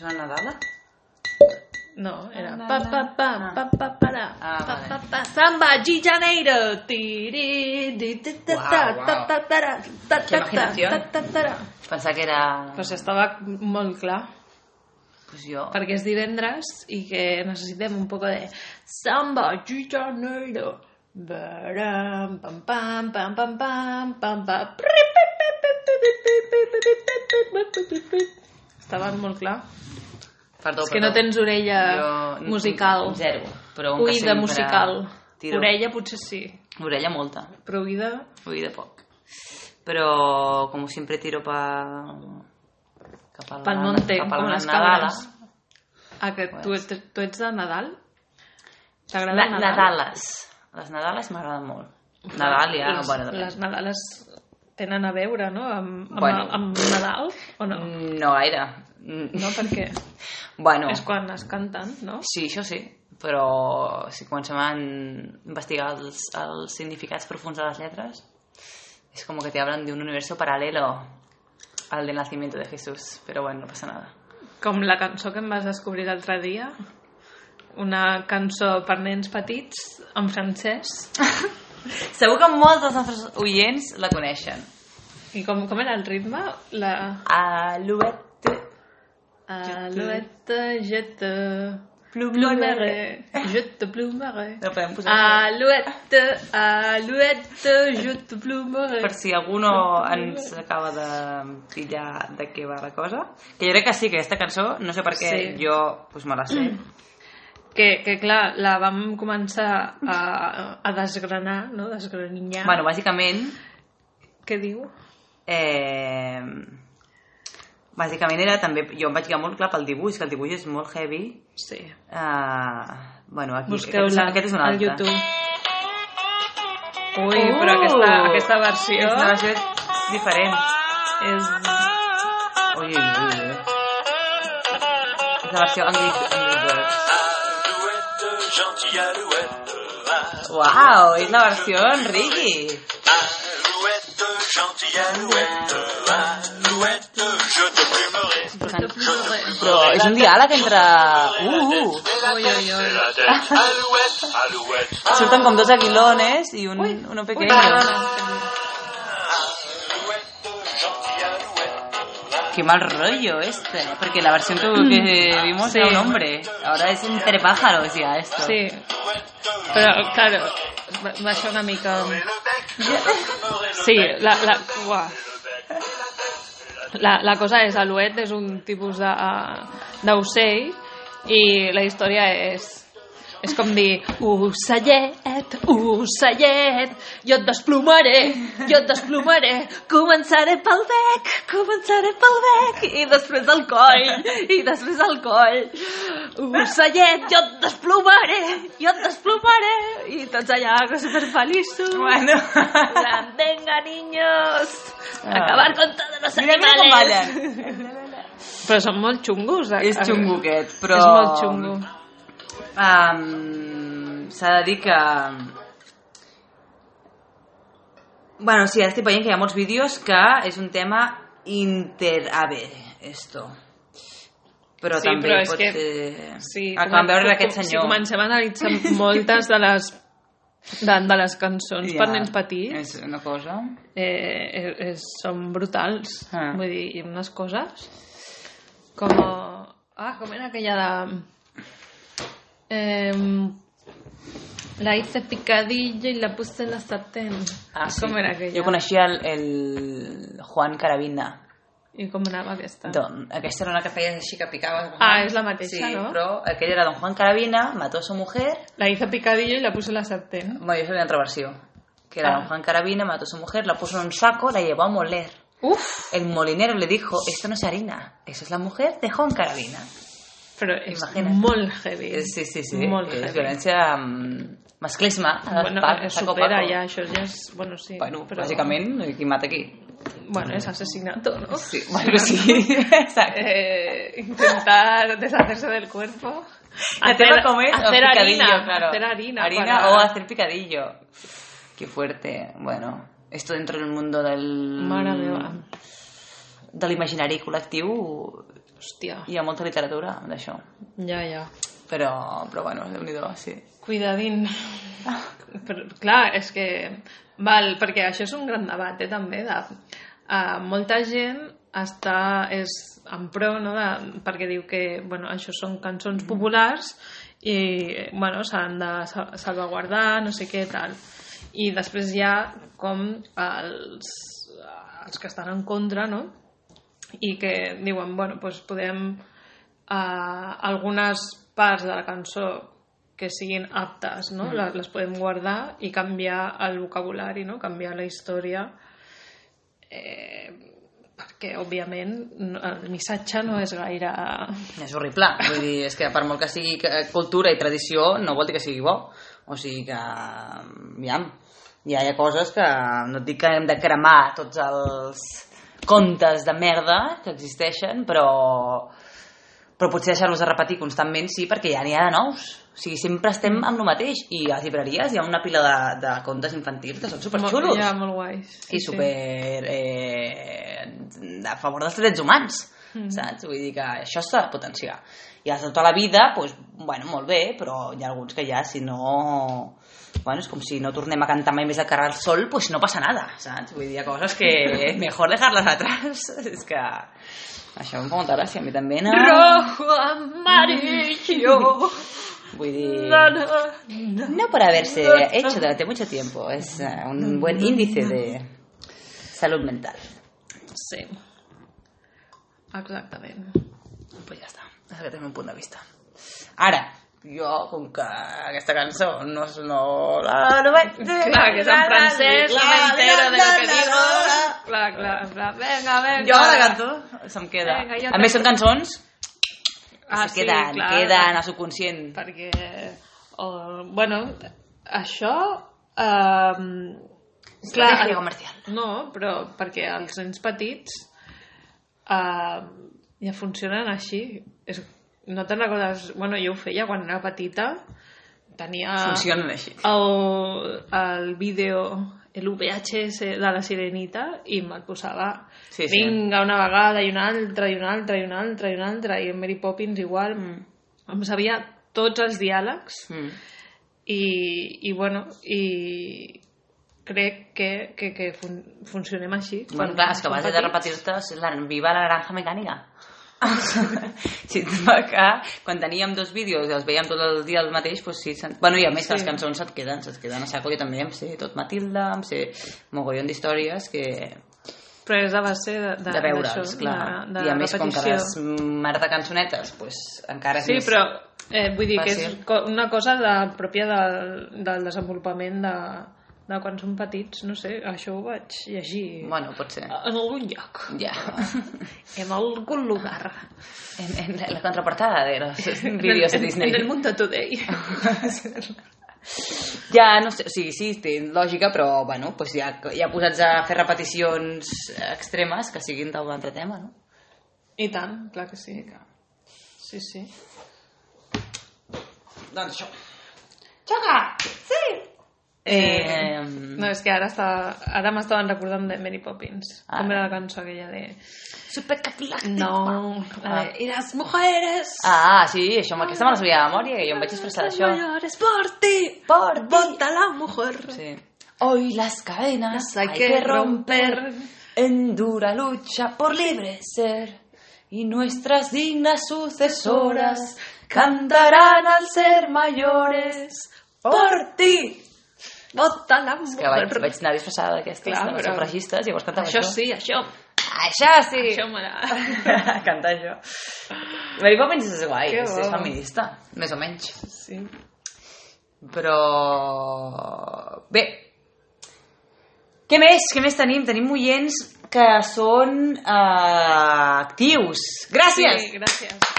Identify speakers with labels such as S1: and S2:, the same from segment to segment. S1: ¿Era la Nadala?
S2: No, era
S1: Na,
S2: pa
S1: na,
S2: pa pa
S1: ah.
S2: pa pa para
S1: Ah,
S2: pa
S1: vale.
S2: pa pa samba G Janeiro ti ri, di, ti, ta,
S1: Guau,
S2: ta,
S1: guau.
S2: ta, ta, tara, ta,
S1: Qué
S2: ta, ta,
S1: imaginación.
S2: ta, ta, tara.
S1: Pensava que era...
S2: Pues estava molt clar
S1: pues jo...
S2: perquè és divendres i que necessitem un poco de samba G Janeiro Baram, pam, pam, pam, pam, pam, pam, pam. Estava molt clar.
S1: Perdó,
S2: És que no
S1: perdó.
S2: tens orella
S1: Jo-
S2: musical.
S1: Zero. Però un que
S2: Oïda
S1: sempre
S2: musical.
S1: Tiro.
S2: Orella potser sí,
S1: Orella molta.
S2: però oïda...
S1: Oïda poc. Però, com sempre tiro pa... Cap a la,
S2: Pel monte,
S1: cap eh? a
S2: com
S1: la
S2: les
S1: Nadala.
S2: cabres. Ah, que tu, ets, tu ets de Nadal? T'agrada
S1: Na,
S2: Nadal?
S1: Nadales. Les Nadales m'agraden molt. Nadal ja...
S2: les,
S1: bueno, depèn.
S2: les Nadales tenen a veure, no?, amb, amb,
S1: Bueno.
S2: amb Nadal, o no?
S1: No gaire. Mm,
S2: No, perquè
S1: Bueno,
S2: és quan es canten, no?
S1: sí, això sí. Però si comencem a investigar els, els significats profuns de les lletres, és com que te hablan de un universo paralelo al del nacimiento de Jesús. Pero bueno, no pasa nada.
S2: Com la cançó que em vas descobrir l'altre dia, una cançó per nens petits, en francès.
S1: Segur que molts dels nostres oients la coneixen.
S2: I com, com era el ritme? La...
S1: A l'Ubet
S2: Ah,
S1: te-
S2: l'ouette, je te...
S1: Plumerai.
S2: Plumerai. Je te plumerai.
S1: La podem posar
S2: Alouette, alouette, je te plumerai.
S1: per si algú no ens acaba de pillar de què va la cosa. Que jo crec que sí, que aquesta cançó, no sé per què,
S2: Sí.
S1: jo pues, me la sé.
S2: Que, que clar, la vam començar a, a desgranar, no? Desgraninyar.
S1: Bueno, bàsicament,
S2: Què diu?
S1: eh, bàsicament era també... Jo em vaig quedar molt clar pel dibuix, que el dibuix és molt heavy.
S2: Sí.
S1: Eh, bueno, aquí, aquest,
S2: Busqueu-la
S1: aquest és un
S2: al
S1: altre.
S2: YouTube. Ui,
S1: Uh!
S2: però aquesta, Oh! aquesta versió
S1: Aquesta versió és diferent.
S2: és...
S1: Ui, ui, ui. ui. És la versió Angry, Angry Birds.
S3: Alouette, gentille alouette,
S1: Uau, és la versió Enriqui.
S3: alouette, gentille alouette, alouette, je te plumerai.
S1: Però és un diàleg entre... Uh,
S2: Ui, ui, ui.
S3: La tête, alouette, alouette,
S1: surten com dos aguilones i un, uno
S2: Ui,
S1: pequeño.
S2: perdona.
S3: alouette, gentille alouette,
S1: Qué mal rollo este. Porque la versión que, que vimos
S2: Mm. Sí.
S1: era un hombre. Ahora es entre pájaros ya esto.
S2: Sí,
S3: alouette,
S2: però, claro, va, va ser una mica...
S3: je le bec, je te plumerai le
S2: Sí,
S3: bec.
S2: la, la, uah. la, la cosa és, l'Uet és un tipus de- d'ocell i la història és és com dir, ocellet, ocellet, jo et desplomaré, jo et desplomaré, començaré pel bec, començaré pel bec, i després al coll, i després al coll. Ocellet, jo et desplomaré, jo et desplomaré, i tots allà superfeliços.
S1: Bueno.
S2: En plan, Venga, niños, acabar con todos los
S1: Ah. Mira, mira com
S2: animales.
S1: ballen.
S2: Però són molt xungos. A,
S1: És xungo aquest, però...
S2: És molt xungo.
S1: Em, S'ha de dir que... Bueno, sí, estic veient que hi ha molts vídeos que és un tema interave, esto. Però
S2: Sí,
S1: també
S2: però és
S1: pot
S2: que-
S1: ser...
S2: Sí,
S1: el que vam veure era
S2: com-
S1: aquest
S2: Si
S1: senyor.
S2: comencem a analitzar moltes de les, de, de les cançons
S1: Ja,
S2: per nens petits,
S1: És una cosa...
S2: eh, és, és, són brutals.
S1: Ah.
S2: Vull dir, hi ha unes coses com... Ah, com era aquella de... Eh, la hice picadilla y la puse en la sartén.
S1: Ah,
S2: Com era aquella?
S1: Jo coneixia el, el Juan Carabina.
S2: I com anava aquesta?
S1: Don, aquesta era una que feies així que picava.
S2: Ah, és la mateixa,
S1: sí,
S2: no?
S1: però aquella era Don Juan Carabina, mató a su mujer
S2: La hice picadillo y la puse en la sartén.
S1: Bueno, yo soy otra versión. Que era
S2: Ah.
S1: don Juan Carabina, mató a su mujer, la puso en un saco, la llevó a moler.
S2: Uf,
S1: El molinero le dijo, esto no es harina, eso es la mujer de Juan Carabina.
S2: però és
S1: Imagina't.
S2: molt heavy.
S1: Eh, Sí, sí, sí.
S2: Molt
S1: és
S2: heavy.
S1: violència mm, masclisme. a
S2: eh. Bueno,
S1: pa-
S2: es
S1: saco
S2: supera eh,
S1: paco.
S2: ja, això ja és... Bueno, sí.
S1: Bueno, bàsicament, qui mata qui?
S2: Bueno, és asesinato, no?
S1: Sí, bueno, sí. Exacte.
S2: Eh, intentar deshacerse del cuerpo.
S1: Hacer, comer o
S2: hacer
S1: picadillo,
S2: harina,
S1: claro.
S2: hacer harina.
S1: Harina
S2: para-
S1: o hacer picadillo. Qué fuerte. Bueno, esto dentro del mundo del...
S2: Mare meva.
S1: de l'imaginari col·lectiu
S2: Hòstia.
S1: Hi ha molta literatura d'això.
S2: Ja, ja.
S1: Però, però bueno, déu nhi sí.
S2: Cuidadín. Però, clar, és que... Val, perquè això és un gran debat, eh, també. De, uh, molta gent està, és en pro, no, de, perquè diu que bueno, això són cançons populars i bueno, s'han de sa- salvaguardar, no sé què, tal. I després hi ha com els, els que estan en contra, no? i que diuen, bueno, doncs podem eh, algunes parts de la cançó que siguin aptes, no? Mm. Les, les podem guardar i canviar el vocabulari, no? Canviar la història eh, perquè, òbviament, no- el missatge no és gaire...
S1: És horrible. Vull dir, és que per molt que sigui que- cultura i tradició, no vol dir que sigui bo. O sigui que, aviam, ja hi ha coses que no et dic que hem de cremar tots els contes de merda que existeixen, però, però potser deixar-los de repetir constantment sí, perquè ja n'hi ha de nous. O sigui, sempre estem amb el mateix. I a les llibreries hi ha una pila de, de contes infantils que són superxulos.
S2: Molt, ja, molt guais.
S1: I super... Eh, a favor dels drets humans, mm. saps? Vull dir que això s'ha de potenciar. I els de tota la vida, doncs, bueno, molt bé, però hi ha alguns que ja, si no... Bueno, és com si no tornem a cantar mai més al carrer al sol, doncs no passa nada, saps? Vull dir, hi ha coses que mejor dejar-les atrás. és que... Això em fa molta gràcia, a mi també. No?
S2: Rojo, amarillo...
S1: Vull dir...
S2: na, na, na.
S1: No por haberse hecho durante mucho tiempo. Es eh, un buen índice de salud mental.
S2: Sí. Exactament.
S1: pues ja està, és que tenim un punt de vista. Ara, jo, com que aquesta cançó no és... No, la, no vaig...
S2: Clar, que és en francès, no m'entero de lo que digo.
S1: digo.
S2: Clar, clar, en plan, venga, venga.
S1: Jo la canto, se'm queda.
S2: Vinga, jo
S1: a més, són cançons que
S2: Ah,
S1: se
S2: sí,
S1: queden,
S2: clar.
S1: queden a subconscient.
S2: Perquè, o, bueno, això... Um, clar,
S1: Estrategia comercial.
S2: no, però perquè els nens petits uh, ja funcionen així. És, no te'n recordes... Bueno, jo ho feia quan era petita. Tenia...
S1: Funcionen així.
S2: el, el vídeo, el VHS de la Sirenita i me'l posava
S1: Sí, sí.
S2: vinga una vegada i una altra i una altra i una altra i una altra i en Mary Poppins igual mm. em sabia tots els diàlegs
S1: Mm.
S2: i, i bueno i crec que, que, que fun funcionem així
S1: Bueno, clar, és que a base de repetir-te és la, viva la naranja mecànica. sí, que quan teníem dos vídeos i els veiem tot el dia el mateix, doncs sí, se'n- bueno, i a més que les
S2: Sí.
S1: cançons se't queden, se't queden a saco, jo també em sé tot Matilda, em sé mogollon d'històries que
S2: però és a base de, de,
S1: de, veure'ls,
S2: d'això,
S1: clar.
S2: de, de
S1: I a més, com que
S2: repetició.
S1: les mar de cançonetes, doncs encara és
S2: Sí,
S1: més...
S2: però eh, vull dir que és
S1: fàcil.
S2: co- una cosa de, pròpia del, del desenvolupament de, de quan són petits, no sé, això ho vaig llegir
S1: Bueno, pot ser.
S2: en algun lloc,
S1: Ja.
S2: en algun lugar.
S1: En, en la, la contraportada de los vídeos de
S2: en,
S1: Disney.
S2: En el Mundo Today.
S1: Ja, no sé, o sigui, sí, té lògica, però, bueno, doncs ja, ja posats a fer repeticions extremes que siguin d'un altre tema, no?
S2: I tant, clar que sí. Sí, sí.
S1: Doncs això.
S2: Xoca! Sí!
S1: Eh,
S2: No, és que ara, està, ara m'estaven recordant de Mary Poppins.
S1: Ah.
S2: Com era la cançó aquella de...
S1: Supercalifragilístic.
S2: No, la de... I les mujeres!
S1: Ah, sí, això, amb aquesta me la sabia de memòria, que jo em vaig expressar d'això.
S2: Mayores por ti,
S1: Por ti.
S2: Volta la mujer.
S1: Sí. Hoy las cadenas
S2: Las
S1: hay que romper en dura lucha por libre ser y nuestras dignas sucesoras cantarán al ser mayores por ti.
S2: Volta la
S1: Que
S2: mujer.
S1: vaig, vaig anar disfressada d'aquestes,
S2: Clar,
S1: de les
S2: però-
S1: sufragistes, i llavors cantava
S2: Això
S1: això.
S2: Ah, sí, això.
S1: Això sí!
S2: Això m'agrada.
S1: Cantar això. Mary Poppins és guai,
S2: Que
S1: és,
S2: bo.
S1: és feminista, més o menys.
S2: Sí.
S1: Però... Bé. Què més? Què més tenim? Tenim oients que són eh, actius. Gràcies!
S2: Sí, gràcies.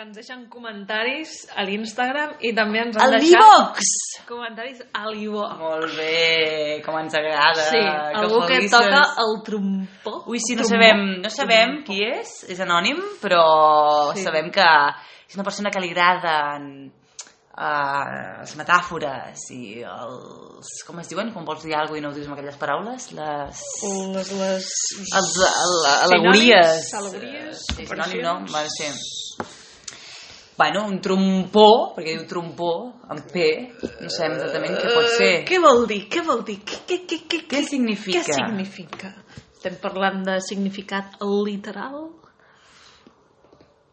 S2: Que ens deixen comentaris a l'Instagram i també ens han
S1: El
S2: deixat
S1: D-Box!
S2: comentaris a l'Ivox.
S1: Molt bé, com ens agrada.
S2: Sí,
S1: us doncs.
S2: algú que
S1: felices.
S2: toca el trompó.
S1: Ui, sí, no
S2: Trombó.
S1: sabem, no sabem qui és, és anònim, però
S2: Sí.
S1: sabem que és una persona que li agraden eh, les metàfores i els... com es diuen? Quan vols dir alguna i no ho dius amb aquelles paraules? Les...
S2: Les, les...
S1: Els, el, alegories.
S2: Sinònims, alegories,
S1: Eh, Sí, sinònim, no?
S2: comparacions.
S1: Va ser... Bueno, un trompó, perquè diu trompó, amb P, no sabem exactament què pot ser.
S2: Eh, Què vol dir? Què vol dir? Què, què, què, què,
S1: Què significa?
S2: Què significa? Estem parlant de significat literal?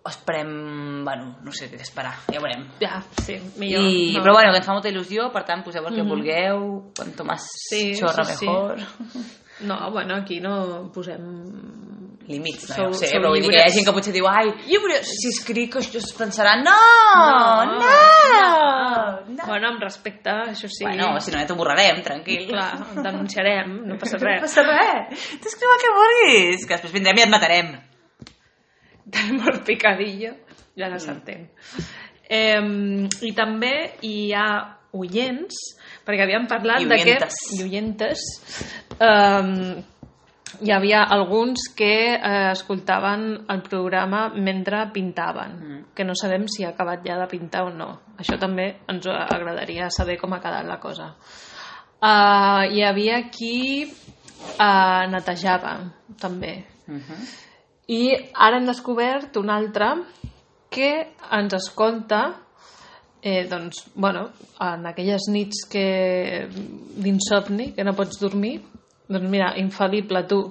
S1: Esperem, bueno, no sé, té d'esperar, ja veurem.
S2: Ja, sí, millor.
S1: I, Mm-hmm.
S2: no.
S1: Però bueno, que ens fa molta il·lusió, per tant, poseu el que
S2: Mhm.
S1: vulgueu, quanto más
S2: Sí,
S1: xorra
S2: sí, sí.
S1: mejor.
S2: No, bueno, aquí no posem...
S1: Límits, no,
S2: Sou-
S1: ja ho sé,
S2: sou
S1: però vull dir que hi
S2: lliures.
S1: ha gent que potser diu, ai,
S2: Llibres!
S1: si escric això es pensarà, no, no, no.
S2: no. Bueno, amb respecte, això sí.
S1: Bueno, si no ja t'ho borrarem, tranquil.
S2: Clar, denunciarem, no passa
S1: No
S2: res.
S1: passa res. Tu escriu el que vulguis, que després vindrem i et matarem.
S2: Tenim el picadillo, ja
S1: Mm.
S2: no s'entén. Eh, I també hi ha oients, perquè havíem parlat
S1: I
S2: de que...
S1: oientes.
S2: I oientes. Eh, hi havia alguns que eh, escoltaven el programa mentre pintaven,
S1: Mm.
S2: que no sabem si ha acabat ja de pintar o no. Això també ens agradaria saber com ha quedat la cosa. Eh, hi havia qui eh, netejava, també.
S1: Uh -huh.
S2: I ara hem descobert un altre que ens escolta eh, doncs, bueno, en aquelles nits que d'insomni, que no pots dormir, doncs mira, infal·lible tu.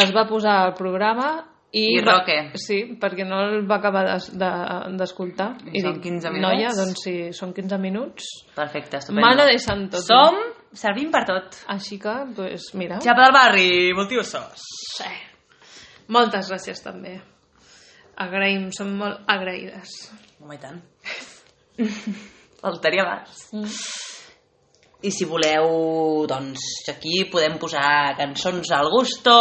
S2: Es va posar el programa i...
S1: I
S2: va-
S1: Roque.
S2: Sí, perquè no el va acabar des- de- d'escoltar.
S1: I són 15 minuts?
S2: Noia, doncs sí, són 15 minuts.
S1: Perfecte, estupendo.
S2: Mare de santo. tu."
S1: Som, servim per tot.
S2: eh? Així que, doncs, pues, mira...
S1: Xapa del barri, multiusos.
S2: Sí. Moltes gràcies també. Agraïm, som molt agraïdes.
S1: No, i tant. Faltaria abans. I si voleu, doncs, aquí podem posar cançons al gusto,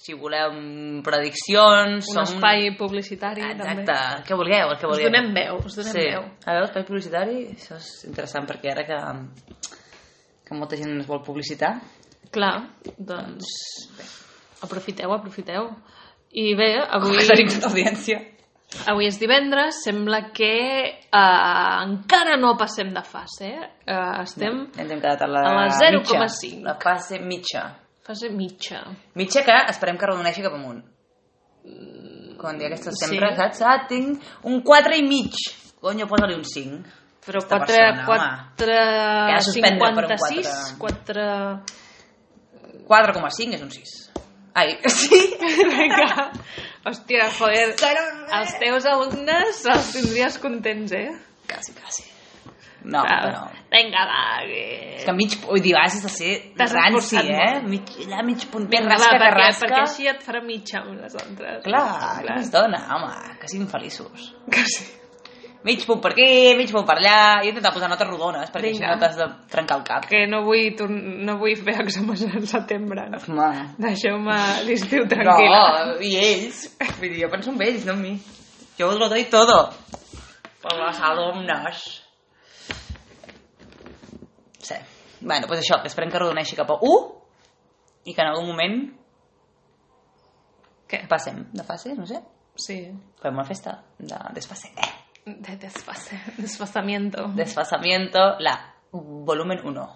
S1: si voleu mm, prediccions...
S2: Un
S1: som- Ah,
S2: espai publicitari
S1: Exacte,
S2: també.
S1: el que vulgueu, el que
S2: Us
S1: vulgueu.
S2: donem veu, us donem
S1: sí.
S2: veu.
S1: A veure, l'espai publicitari, això és interessant perquè ara que, que molta gent es vol publicitar,
S2: Clar, doncs aprofiteu, aprofiteu. I bé, avui,
S1: que tenim tota tanta audiència.
S2: avui és divendres, sembla que eh, encara no passem de fase. Eh? Eh, estem
S1: Ja ens hem quedat a la,
S2: A la
S1: mitja,
S2: 0,5.
S1: La fase mitja.
S2: fase mitja.
S1: Mitja que esperem que arrodoneixi cap amunt. Quan dia aquestes
S2: Sí.
S1: sempre, saps? Ah, tinc un 4 i mig. Conyo, posa-li un 5.
S2: Però
S1: Aquesta
S2: 4,
S1: persona,
S2: 4,
S1: Que ha de
S2: 56,
S1: suspendre per un
S2: 4...
S1: quatre. 4,5 és un 6. Ai, sí.
S2: Vinga. Hòstia, joder.
S1: Zero,
S2: Els teus alumnes els tindries contents, eh?
S1: Quasi, quasi. No, però...
S2: Vinga, va, que...
S1: És que mig... Vull dir, has de ser
S2: T'has
S1: ranci,
S2: esforçat
S1: eh?
S2: molt.
S1: Mig, la mig puntet,
S2: Vinga,
S1: rasca,
S2: va,
S1: que
S2: perquè,
S1: rasca.
S2: perquè així et farà mitja amb les altres.
S1: Clar, que més dona, home, que siguin feliços.
S2: Que sí.
S1: Mig punt per aquí, mig punt per allà, i intentar posar notes rodones, perquè
S2: Vinga.
S1: així no t'has de trencar el cap.
S2: Que no vull, tor- no vull fer exàmens en setembre. No?
S1: Home,
S2: Deixeu-me l'estiu
S1: no,
S2: tranquil·la.
S1: i ells, vull dir, jo penso en ells, no en mi. Jo os lo doy todo. Per les alumnes. Sí. Bueno, doncs això, que esperem que redoneixi cap a 1 i que en algun moment
S2: Què?
S1: passem de fase, no sé.
S2: Sí.
S1: Fem una festa de desfase. Eh.
S2: De desfase, desfasamiento.
S1: Desfasamiento, la volumen 1.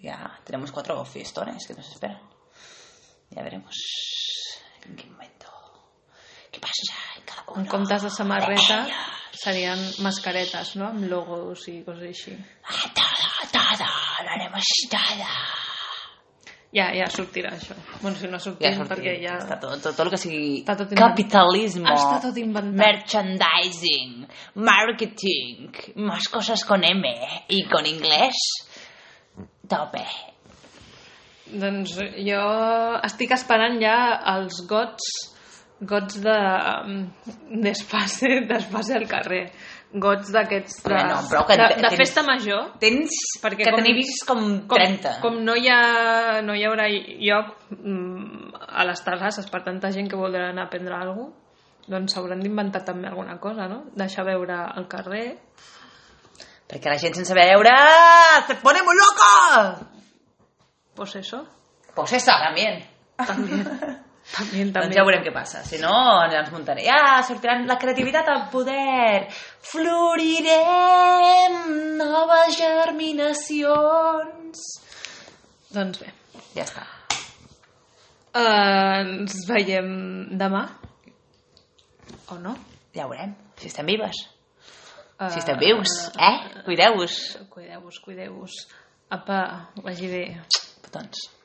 S1: Ya tenemos cuatro fiestones que nos esperan. Ya veremos en qué momento. ¿Qué pasa en cada uno?
S2: En comptes de samarreta serien mascaretes, no? Amb logos i coses així.
S1: Ah, Todo, todo, lo haremos todo.
S2: Ja, ja sortirà això. Bueno, si no
S1: Ja
S2: sortim,
S1: sortim,
S2: perquè ja...
S1: Està tot, tot, tot el que sigui
S2: Està tot inventat.
S1: capitalismo,
S2: Està tot inventat.
S1: merchandising, marketing, más cosas con M y con inglés, tope.
S2: Doncs jo estic esperant ja els gots gots de desfase, desfase al carrer gots d'aquests de,
S1: Bueno, però que
S2: de,
S1: te-
S2: de
S1: tens-
S2: festa major
S1: Tens
S2: Perquè
S1: que
S2: com-
S1: tenir vist com,
S2: com,
S1: 30.
S2: com no, hi ha, no hi haurà lloc mm, a les terrasses per tanta gent que voldrà anar a prendre alguna cosa doncs s'hauran d'inventar també alguna cosa, no? Deixar veure el carrer.
S1: Perquè la gent sense veure se pone muy loca.
S2: Pues eso.
S1: Pues esa también.
S2: També. També, també.
S1: Doncs ja veurem què passa. Si no, ens muntaré. Ja sortiran la creativitat al poder. Florirem noves germinacions.
S2: Doncs bé.
S1: Ja està.
S2: Eh, ens veiem demà. O no?
S1: Ja veurem. Si estem vives.
S2: Eh,
S1: Si estem vius. Eh? Cuideu-vos.
S2: Cuideu-vos, cuideu-vos. Apa, vagi bé.
S1: Petons.